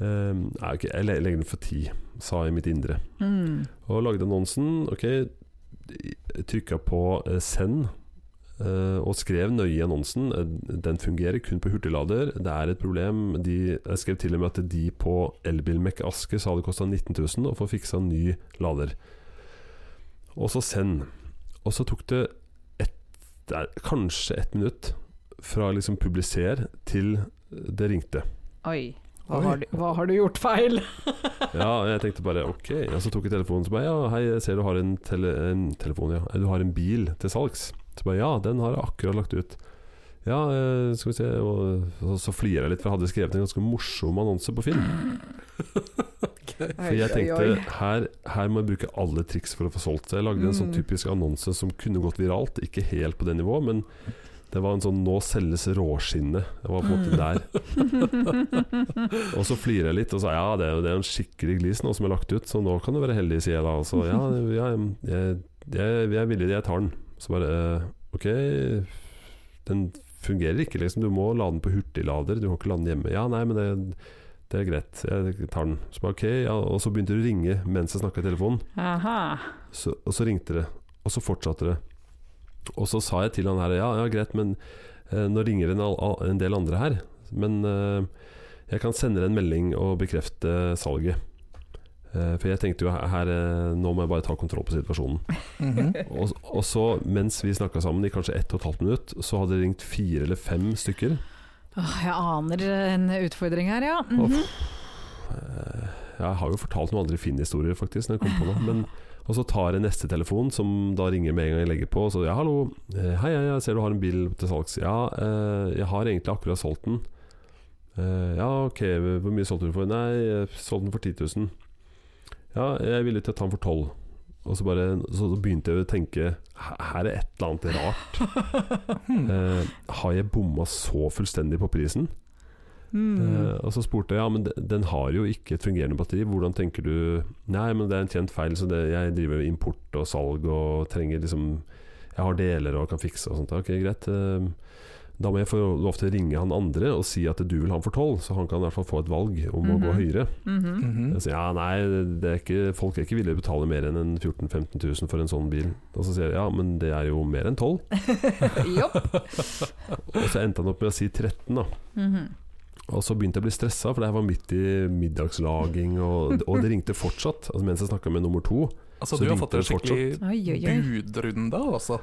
B: Ehm, nei, ok, jeg le- legger den for 10, sa jeg i mitt indre.
C: Mm.
B: Og lagde annonsen. Ok, trykka på eh, send. eh, og skrev nøye i annonsen. eh, Den fungerer kun på hurtiglader. Det er et problem. De, jeg skrev til og med at de på Elbilmek Asker sa det kosta 19 000 å få fiksa en ny lader. Og så send. Og så tok det ett, det er kanskje ett minutt fra liksom publiser til det ringte.
C: Oi.
A: Oi.
C: Hva har, du, hva har du gjort feil?
B: Ja, og jeg tenkte bare ok. Og så tok jeg telefonen og så bare ja, hei, jeg ser du har en, tele en telefon, ja. Du har en bil til salgs. Så bare ja, den har jeg akkurat lagt ut. Ja, eh, skal vi se Og så, så flirer jeg litt, for jeg hadde skrevet en ganske morsom annonse på Finn. For jeg tenkte her, her må jeg bruke alle triks for å få solgt. Så jeg lagde en sånn
C: Mm.
B: typisk annonse som kunne gått viralt, ikke helt på det nivået, men det var en sånn 'nå selges råskinnet'. Jeg var på en måte der. Og så flirer jeg litt og sa ja, det er jo det er en skikkelig glis nå som er lagt ut, så nå kan du være heldig, sier jeg da. Og så ja, ja jeg, jeg, jeg er villig, jeg tar den. Så bare eh, ok, den fungerer ikke liksom, du må lade den på hurtiglader, du kan ikke lade den hjemme. Ja, nei, men det, det er greit, jeg tar den. Så bare ok, ja, og så begynte det å ringe mens jeg snakket i telefonen.
C: Aha.
B: Så, og så ringte det, og så fortsatte det. Og så sa jeg til han her Ja, ja greit, men eh, nå ringer en, al- al- en del andre her. Men eh, jeg kan sende deg en melding og bekrefte salget. Eh, for jeg tenkte jo her, her eh, Nå må jeg bare ta kontroll på situasjonen.
A: Mhm.
B: Og, og så, mens vi snakka sammen i kanskje ett og et halvt minutt, så hadde det ringt fire eller fem stykker.
C: Åh, jeg aner en utfordring her, ja. Mhm.
B: Uff. Eh, Jeg har jo fortalt noen andre Finn-historier, faktisk. Når jeg kom på noe. Men, og så tar jeg neste telefon, som da ringer med en gang jeg legger på. Og så ja, 'hallo, eh, hei, hei, jeg ser du har en bil til salgs'. 'Ja, eh, jeg har egentlig akkurat solgt den'. Eh, 'Ja, ok, hvor mye solgte du for?' 'Nei, jeg solgte den for 10 000'. 'Ja, jeg er villig til å ta den for 12 og så, bare, så begynte jeg å tenke "Her- Her er et eller annet rart. Eh, har jeg bomma så fullstendig på prisen?
C: Mm.
B: Eh, og så spurte jeg ja, men de- den har jo ikke et fungerende batteri. Hvordan tenker du Nei, men det er en kjent feil, så det, jeg driver med import og salg og trenger liksom Jeg har deler og kan fikse og sånt. Ok, greit. Eh, Da må jeg få lov til å ringe han andre og si at du vil ha han for tolv, så han kan i hvert fall få et valg om å gå
C: Mhm.
B: høyere.
C: Mhm.
A: Mhm.
B: Jeg sier, ja, nei, det er ikke, folk er ikke villige til å betale mer enn en 14 000-15 000 for en sånn bil. Og så sier jeg ja, men det er jo mer enn 12.
C: Jopp.
B: Og så endte han opp med å si 13, da.
C: Mhm.
B: Og så begynte jeg å bli stressa, for det her var midt i middagslaging, og, og det ringte fortsatt. Altså Mens jeg snakka med nummer to.
A: Altså,
B: Så
A: du har
B: ringte
A: fått en
B: det fortsatt.
A: skikkelig
C: Oi, oi, oi.
A: budrunde, altså.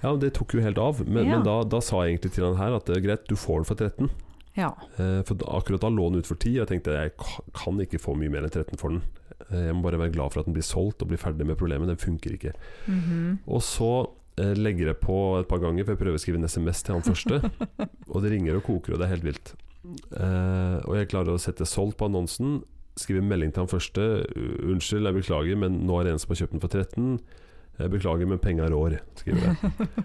B: Ja, men Det tok jo helt av. Men,
C: Ja.
B: men da, da sa jeg egentlig til han her at det er greit, du får den for 13.
C: Ja.
B: Eh, For da, akkurat da lå den ut for 10, og jeg tenkte jeg ka- kan ikke få mye mer enn 13 for den. Eh, Jeg må bare være glad for at den blir solgt og bli ferdig med problemet. Den funker ikke.
C: Mhm.
B: Og så eh, legger jeg på et par ganger, for jeg prøver å skrive en SMS til han første. og det ringer og koker, og det er helt vilt. Eh, og jeg klarer å sette solgt på annonsen. Skrive melding til han første. U- Unnskyld, jeg beklager, men nå er det en som har kjøpt den for 13. Jeg beklager, men penga rår, skriver jeg.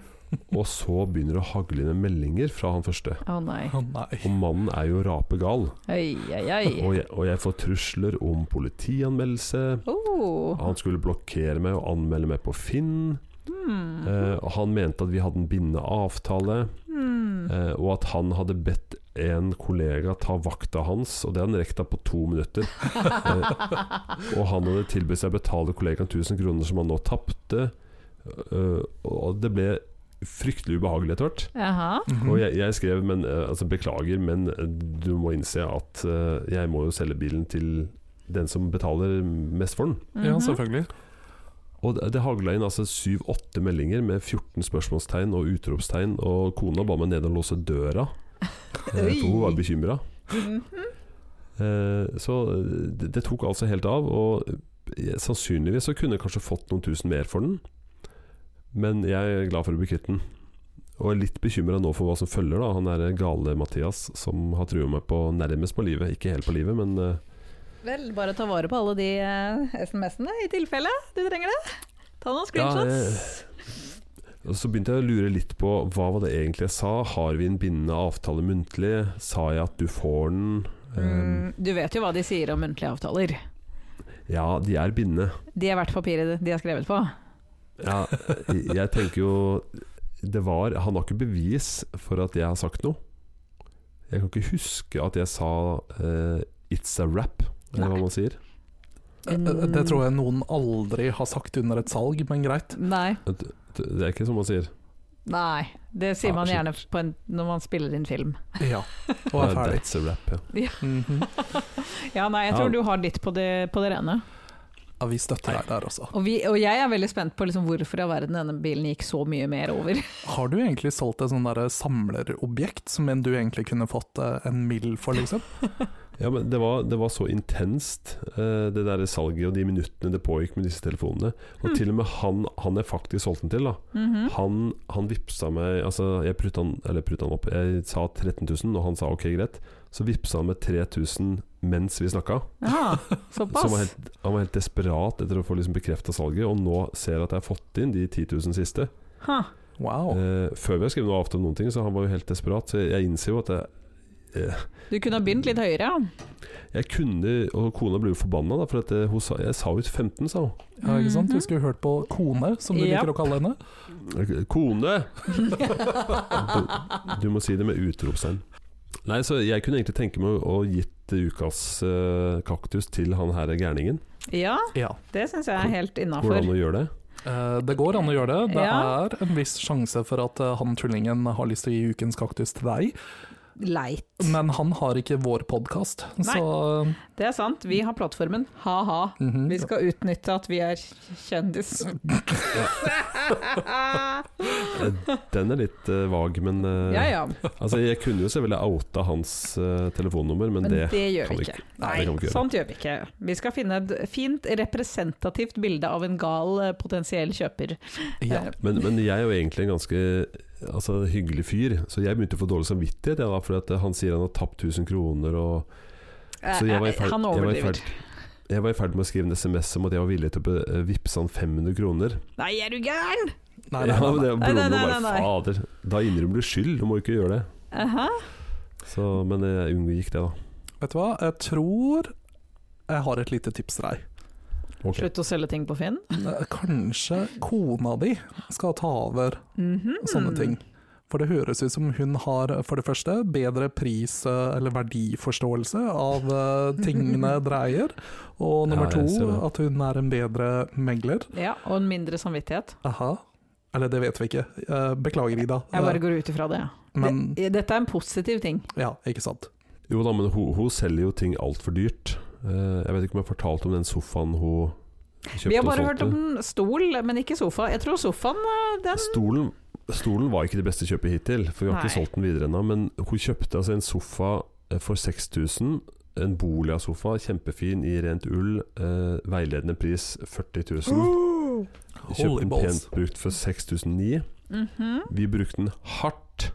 B: og så begynner det å hagle med meldinger fra han første.
C: Å nei.
A: Å nei.
B: Og mannen er jo rapegal.
C: Oi, oi, oi.
B: Og jeg, og jeg får trusler om politianmeldelse.
C: Oh.
B: Han skulle blokkere meg og anmelde meg på Finn.
C: Hmm.
B: Eh, og han mente at vi hadde en bindende avtale,
C: Hmm.
B: eh, og at han hadde bedt en kollega ta vakta hans, og det hadde han rekt da på to minutter. Eh, og han hadde tilbudt seg å betale kollegaen 1000 kroner, som han nå tapte. Eh, og det ble fryktelig ubehagelig etter hvert.
C: Jaha.
A: Mhm.
B: Og jeg, jeg skrev men, eh, altså, 'beklager, men du må innse at eh, jeg må jo selge bilen til den som betaler mest for den'.
A: Ja,
C: Mhm.
A: selvfølgelig.
B: Og det, det hagla inn altså syv-åtte meldinger med 14 spørsmålstegn og utropstegn, og kona ba meg ned og låse døra, eh, for hun var bekymra.
C: Mm-hmm.
B: Eh, Så eh, det, det tok altså helt av, og eh, sannsynligvis så kunne jeg kanskje fått noen tusen mer for den, men jeg er glad for å bli kvitt den. Og er litt bekymra nå for hva som følger, da. Han er gale Mathias som har trua meg på nærmest på livet. Ikke helt på livet, men eh,
C: Vel, bare ta vare på alle de eh, SMS-ene i tilfelle du trenger det. Ta noen
B: Ja,
C: screenshots.
B: Og Så begynte jeg å lure litt på hva var det egentlig jeg sa. Har vi en bindende avtale muntlig? Sa jeg at du får den? Um,
C: Mm, du vet jo hva de sier om muntlige avtaler.
B: ja, de er bindende.
C: De er verdt papiret de er skrevet på.
B: Ja, <laughs> jeg tenker jo det var, Han har ikke bevis for at jeg har sagt noe. Jeg kan ikke huske at jeg sa eh, 'it's a wrap', eller
C: Nei.
B: hva man sier.
C: Mm.
A: Eh, Det tror jeg noen aldri har sagt under et salg, men greit.
C: Nei,
B: Det er ikke sånn man sier.
C: nei. Det sier
B: Ja, altså-
C: man
B: shit.
C: gjerne på en, når man spiller inn film.
A: Ja. Og er
B: Eh,
A: ferdig.
B: That's a wrap, ja.
A: Mhm.
C: Ja, nei, jeg
B: Ja.
C: tror du har ditt på det, på det rene.
A: Ja, vi støtter deg der, altså.
C: Og, vi, og jeg er veldig spent på liksom hvorfor i all verden denne bilen gikk så mye mer over.
A: Har du egentlig solgt et sånn derre samlerobjekt som en du egentlig kunne fått eh, en mill for, liksom?
B: Ja, men det var, det var så intenst, eh, det der salget og de minuttene det pågikk med disse telefonene. Og
C: Mm.
B: til og med han, han jeg faktisk solgte den til, da.
C: Mhm.
B: Han, han vippsa meg altså Jeg prutta han, eller prutta han opp. Jeg sa 13 000, og han sa ok, greit. Så vippsa han med 3000 mens vi snakka. <laughs>
C: Jaha,
B: Så han var,
C: såpass.
B: helt, han var helt desperat etter å få liksom bekrefta salget, og nå ser jeg at jeg har fått inn de 10 000 siste.
C: Ha.
A: Wow.
B: Eh, før vi har skrevet noe avtale om noen ting, så han var jo helt desperat. Så jeg innser jo at jeg
C: Du kunne ha begynt litt høyere. ja.
B: Jeg kunne, og kona ble jo forbanna, da, for at eh, hun sa, jeg sa jo 15, sa hun.
A: Ja, ikke sant?
C: Mhm.
A: Du skulle hørt på kone, som du
C: Ja.
A: liker å kalle henne.
C: <laughs>
B: Kone! du, du må si det med utropstegn. Nei, så jeg kunne egentlig tenke meg å, å gitt ukas eh, kaktus til han her gærningen.
C: Ja,
A: Ja.
C: det syns jeg er helt
B: Går det
C: innafor.
B: an å gjøre det?
A: Eh, Det går an å gjøre det. Det
C: Ja.
A: er en viss sjanse for at eh, han tullingen har lyst til å gi ukens kaktus til deg,
C: Leit.
A: men han har ikke vår podkast,
C: Nei.
A: så
C: Det er sant, vi har plattformen. Ha-ha.
A: mhm.
C: Vi skal utnytte at vi er kjendis.
B: Den er litt eh, vag, men eh,
C: <laughs> ja ja,
B: Altså, jeg kunne jo selvfølgelig outa hans eh, telefonnummer, men,
C: men det,
B: det
C: gjør
B: kan
C: vi
B: vi
C: ikke.
B: Nei, det kan vi ikke gjøre.
C: sånt gjør vi ikke. Vi skal finne et fint representativt bilde av en gal eh, potensiell kjøper.
A: ja.
C: Eh,
B: men, men jeg er jo egentlig en ganske altså, hyggelig fyr, så jeg begynte å få dårlig samvittighet, jeg, da, for at eh, han sier han har tapt 1000 kroner og Så jeg var i ferd-
C: Eh, Han
B: jeg var i
C: overdriver.
B: Jeg var i ferd med å skrive en SMS om at jeg var villig til å be- eh, vippse han 500 kroner.
C: Nei, er du gæren?!
A: Nei, nei, nei, nei.
B: Ja, men det,
C: Nei,
B: broren min
C: nei, nei,
B: bare
C: nei.
B: Fader, da innrømmer du skyld, du må ikke gjøre det.
C: Aha.
B: Så, men jeg unngikk det, da.
A: Vet du hva, jeg tror jeg har et lite tips til deg.
B: Ok.
C: Slutt å selge ting på Finn.
A: Eh, Kanskje kona di skal ta over
C: Mhm.
A: sånne ting. For det høres ut som hun har, for det første, bedre pris- eh, eller verdiforståelse av eh,
C: <laughs>
A: tingene dreier, og nummer
B: Ja,
A: to,
B: jeg ser det.
A: at hun er en bedre megler.
C: Ja, og en mindre samvittighet.
A: Aha. Eller det vet vi ikke. Eh, Beklager, Ida.
C: Jeg bare
A: Eh,
C: går ut ifra det.
A: Men
C: Det- eh, Dette er en positiv ting.
A: ja, ikke sant.
B: Jo da, men hun, hun selger jo ting altfor dyrt. Eh, jeg vet ikke om jeg fortalte om den sofaen hun kjøpte
C: Vi har bare
B: og
C: hørt
B: solgte.
C: om stol, men ikke sofa. Jeg tror sofaen eh, den
B: Stolen, stolen var ikke det beste kjøpet hittil, for vi har ikke
C: Nei.
B: solgt den videre ennå. Men hun kjøpte altså en sofa eh, for 6000. En Bolia-sofa, kjempefin i rent ull. Eh, veiledende pris 40 000. Kjøpte
A: Holy
B: den
A: balls.
B: pent brukt for 6009.
C: Mhm.
B: Vi brukte den hardt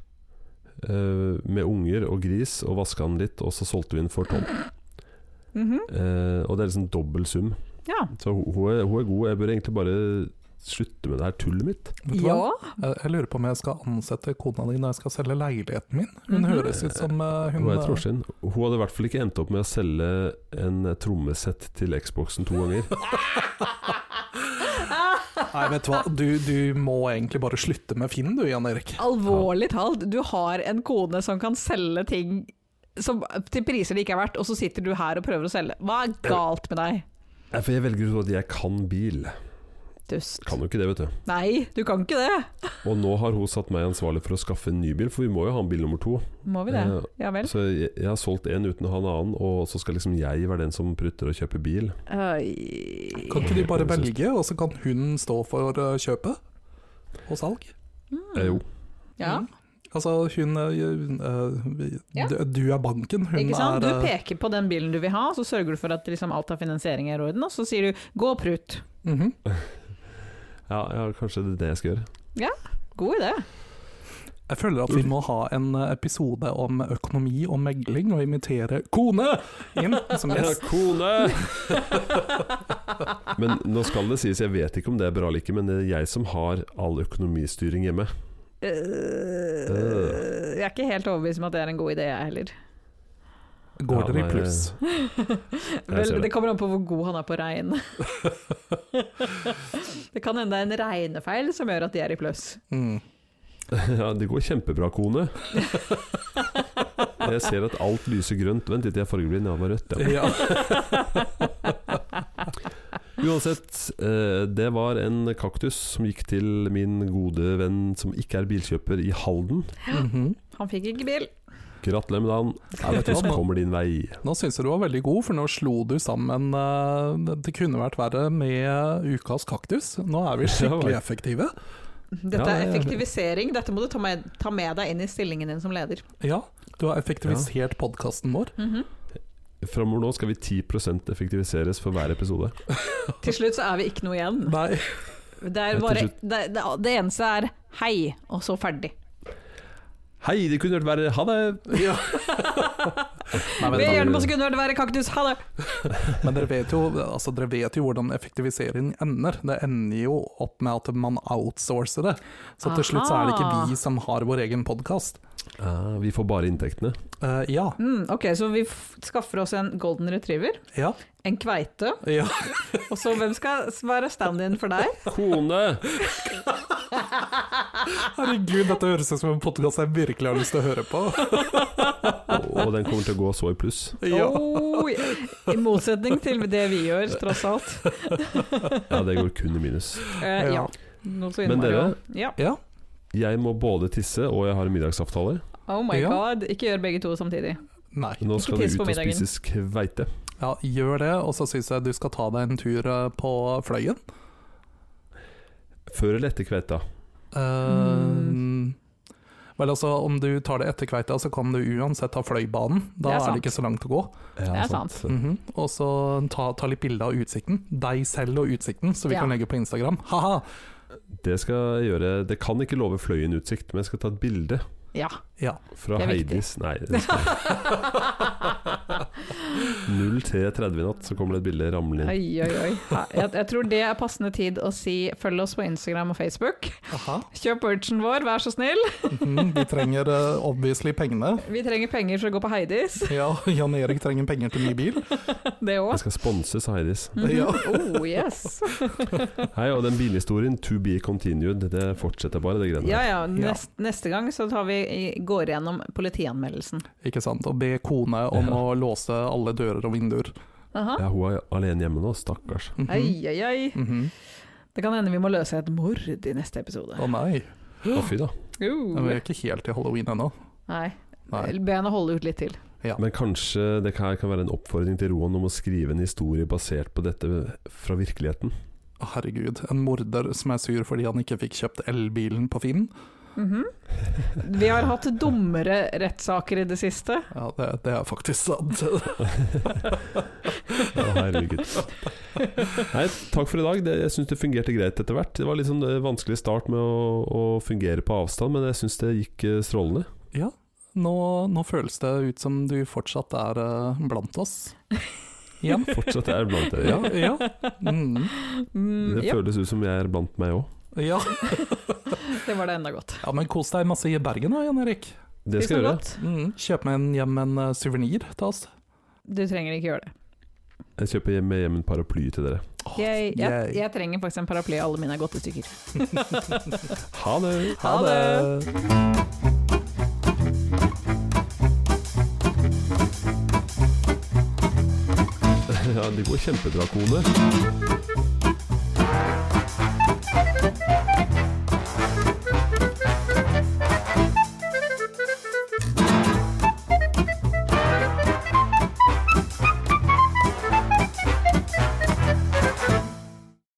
B: eh, med unger og gris, og vaska den litt, og så solgte vi den for 12
C: Mhm.
B: Eh, og det er liksom dobbel sum.
C: Ja.
B: Så hun hun er, hun er god. Jeg bør egentlig bare slutte med det her tullet mitt.
A: Vet du hva?
C: ja.
A: Eh, Jeg lurer på om jeg skal ansette kona di når jeg skal selge leiligheten min. Hun
C: Mhm.
A: høres ut som eh, hun
B: Hun, er et trollskinn. hun hadde i hvert fall ikke endt opp med å selge en trommesett til Xboxen to ganger.
A: Nei, vet du hva, du, du må egentlig bare slutte med Finn du, Jan Erik.
C: Alvorlig talt, du har en kone som kan selge ting som, til priser det ikke er verdt, og så sitter du her og prøver å selge. Hva er galt med deg?
B: Nei, For jeg velger ut at jeg kan bil.
C: Dust.
B: Kan jo ikke det, vet du.
C: Nei, du kan ikke det.
B: Og nå har hun satt meg ansvarlig for å skaffe en ny bil, for vi må jo ha en bil nummer to. Eh,
C: Må vi det?
A: Eh,
C: Ja vel.
B: Så jeg, jeg har solgt en uten å ha en annen, og så skal liksom jeg være den som prutter og kjøper bil.
C: Oi.
A: Kan ikke de bare velge, og så kan hun stå for eh, kjøpet og salg?
C: Mm.
B: Eh, jo.
C: Ja,
A: Altså, hun eh, eh, vi-
C: Ja.
A: du, du er banken, hun
C: ikke sant?
A: er
C: Du
A: eh,
C: peker på den bilen du vil ha, så sørger du for at liksom alt av finansiering er i orden, og så sier du 'gå og prut'.
A: mhm.
B: Ja, ja, kanskje det er det jeg skal gjøre.
C: God idé.
A: Jeg føler at vi må ha en eh, episode om økonomi og megling, og invitere kone inn som
B: Ja,
A: gjest.
B: kone! men nå skal det sies, jeg vet ikke om det er bra eller ikke, men det er jeg som har all økonomistyring hjemme. <laughs>
A: Eh.
C: Øh, jeg er ikke helt overbevist om at det er en god idé, jeg heller.
A: Går
B: Ja,
A: dere i
B: nei,
A: pluss?
B: ser
C: Vel,
B: det.
C: det kommer an på hvor god han er på regn. <laughs> det kan hende det er en regnefeil som gjør at de er i pluss.
B: eh,
A: Mm.
B: ja, det går kjempebra, kone. Jeg ser at alt lyser grønt. Vent litt, jeg er fargeblind. Ja, det var rødt. Ja.
A: Ja. <laughs>
B: Uansett, eh, det var en kaktus som gikk til min gode venn som ikke er bilkjøper i Halden.
A: Mhm.
C: Han fikk ikke bil.
B: Gratulerer med dagen.
A: Ja, vet du hva,
B: Kaktus
A: nå-
B: kommer din vei.
A: Nå syns jeg du var veldig god, for nå slo du sammen eh, Det kunne vært verre med ukas kaktus. Nå er vi skikkelig
B: Ja,
A: effektive.
C: Dette
B: Ja, ja,
C: er
B: ja.
C: effektivisering. Dette må du ta med, ta med deg inn i stillingen din som leder.
A: Ja, du har effektivisert podkasten vår.
C: Mhm.
B: Framover nå skal vi 10 effektiviseres for hver episode.
C: Til slutt så er vi ikke noe igjen.
A: Nei,
C: Det, er
B: Til
C: bare,
B: slutt.
C: det, det, det eneste er hei, og
B: <laughs>
C: så ferdig.
B: Hei, det kunne vært verre. Ha det!
A: ja. Nei men,
C: Vi gjør det
B: bare-
C: på sekundet, det være kaktus, ha det!
A: men dere vet jo altså, Dere vet jo hvordan effektivisering ender. Det ender jo opp med at man outsourcer det. Så til slutt så er det
C: Aha.
A: ikke vi som har vår egen podkast.
B: Ah, vi får bare inntektene.
A: ja.
C: Mm, ok, så vi f skaffer oss en golden retriever,
A: Ja.
C: en kveite,
A: ja.
C: og så hvem skal være stand-in for deg?
B: Kone!
A: Herregud, dette høres ut som en podkast jeg virkelig har lyst til å høre på. <laughs>
B: Og den kommer til å gå så i pluss.
A: Ja.
C: Oh, I motsetning til det vi gjør, tross alt.
B: <laughs> Ja, det går kun i minus.
C: Eh,
A: Ja.
C: ja. Noe så
B: Men
C: innmari
B: dere?
C: også. Ja.
A: ja.
B: Jeg må både tisse, og jeg har en middagsavtale.
C: Oh my
A: Ja.
C: god, ikke gjør begge to samtidig.
A: Nei.
B: Nå
C: Ikke
B: skal vi
C: tiss
B: ut
C: på
B: og
C: middagen.
B: spises kveite.
A: Ja, gjør det, og så syns jeg du skal ta deg en tur eh, på Fløyen.
B: Før eller etter kveita?
A: Ehm, Vel, altså, om du tar det etter Kveita, så kan du uansett ta Fløibanen.
C: Det
A: Da
C: er
A: er,
C: sant.
A: det ikke så langt å gå.
C: Det er sant.
A: Mhm. Og så ta, ta litt bilde av utsikten. Deg selv og utsikten, så vi
C: Ja.
A: kan legge på Instagram. Ha-ha!
B: Det skal jeg gjøre. Det kan ikke love fløyen utsikt, men jeg skal ta et bilde
C: Ja.
A: Ja.
B: fra
C: Det er viktig. <laughs>
B: Heidis Nei, det skal jeg. 03.30 i natt så kommer det et bilde ramlende inn.
C: Oi, oi, oi. Ja, Jeg, jeg tror det er passende tid å si følg oss på Instagram og Facebook.
A: Aha.
C: Kjøp merchen vår, vær så snill.
A: Mhm, vi trenger eh, obviously pengene.
C: Vi trenger penger for å gå på Heidis, <laughs>
A: Ja, Jan Erik trenger penger til ny bil.
C: det
B: Jeg
C: òg.
B: skal sponses av Heidis.
A: Ja.
C: Oh, yes.
B: Hei, og den bilhistorien, to be continued, det fortsetter bare, det greiene
C: Ja
B: der.
C: ja, nest, neste gang så tar vi, går gjennom politianmeldelsen.
A: Ikke sant. Og be kone om
B: Ja.
A: å låse alle dører og vinduer.
C: Aha.
B: Ja, hun er alene hjemme nå, stakkars.
A: Mhm.
C: Ai, ai, ai.
A: Mhm.
C: Det kan hende vi må løse et mord i neste episode.
A: Å nei,
B: Å, fy da.
A: Men vi
C: Uh.
A: er ikke helt i halloween ennå.
C: Nei.
A: Nei.
C: Be henne holde ut litt til.
B: Men kanskje det her kan være en oppfordring til Roan om å skrive en historie basert på dette fra virkeligheten?
A: Herregud, en morder som er sur fordi han ikke fikk kjøpt elbilen på Finn.
C: Mhm. <laughs> Vi har hatt dummere rettssaker i det siste.
A: Ja, det, det er faktisk sant. <laughs>
B: Å, herregud. Nei, takk for i dag. Det, jeg syns det fungerte greit etter hvert. Det var litt sånn eh, vanskelig start med å, å fungere på avstand, men jeg syns det gikk eh, strålende.
A: Ja, nå, nå føles det ut som du fortsatt er eh, blant oss. Igjen.
B: Fortsatt er jeg blant dere.
A: Ja, ja. Mm.
C: Mm,
B: <laughs> Det
C: ja,
B: føles ut som jeg er blant meg òg.
A: ja.
C: det var det enda godt.
A: ja, men kos deg masse i Bergen da, Jan Erik.
B: Det skal jeg gjøre.
C: godt.
A: Mm. Kjøp med en hjem en eh, suvenir til oss.
C: Du trenger ikke gjøre det.
B: Jeg kjøper hjem, med hjem en paraply til dere.
A: Åh,
C: Jeg, jeg,
A: yay.
C: jeg trenger faktisk en paraply. Alle mine er gått i stykker.
B: Ha det! <laughs>
A: Ha
C: Ha det.
A: det!
B: Ja, det går kjempebra, kone.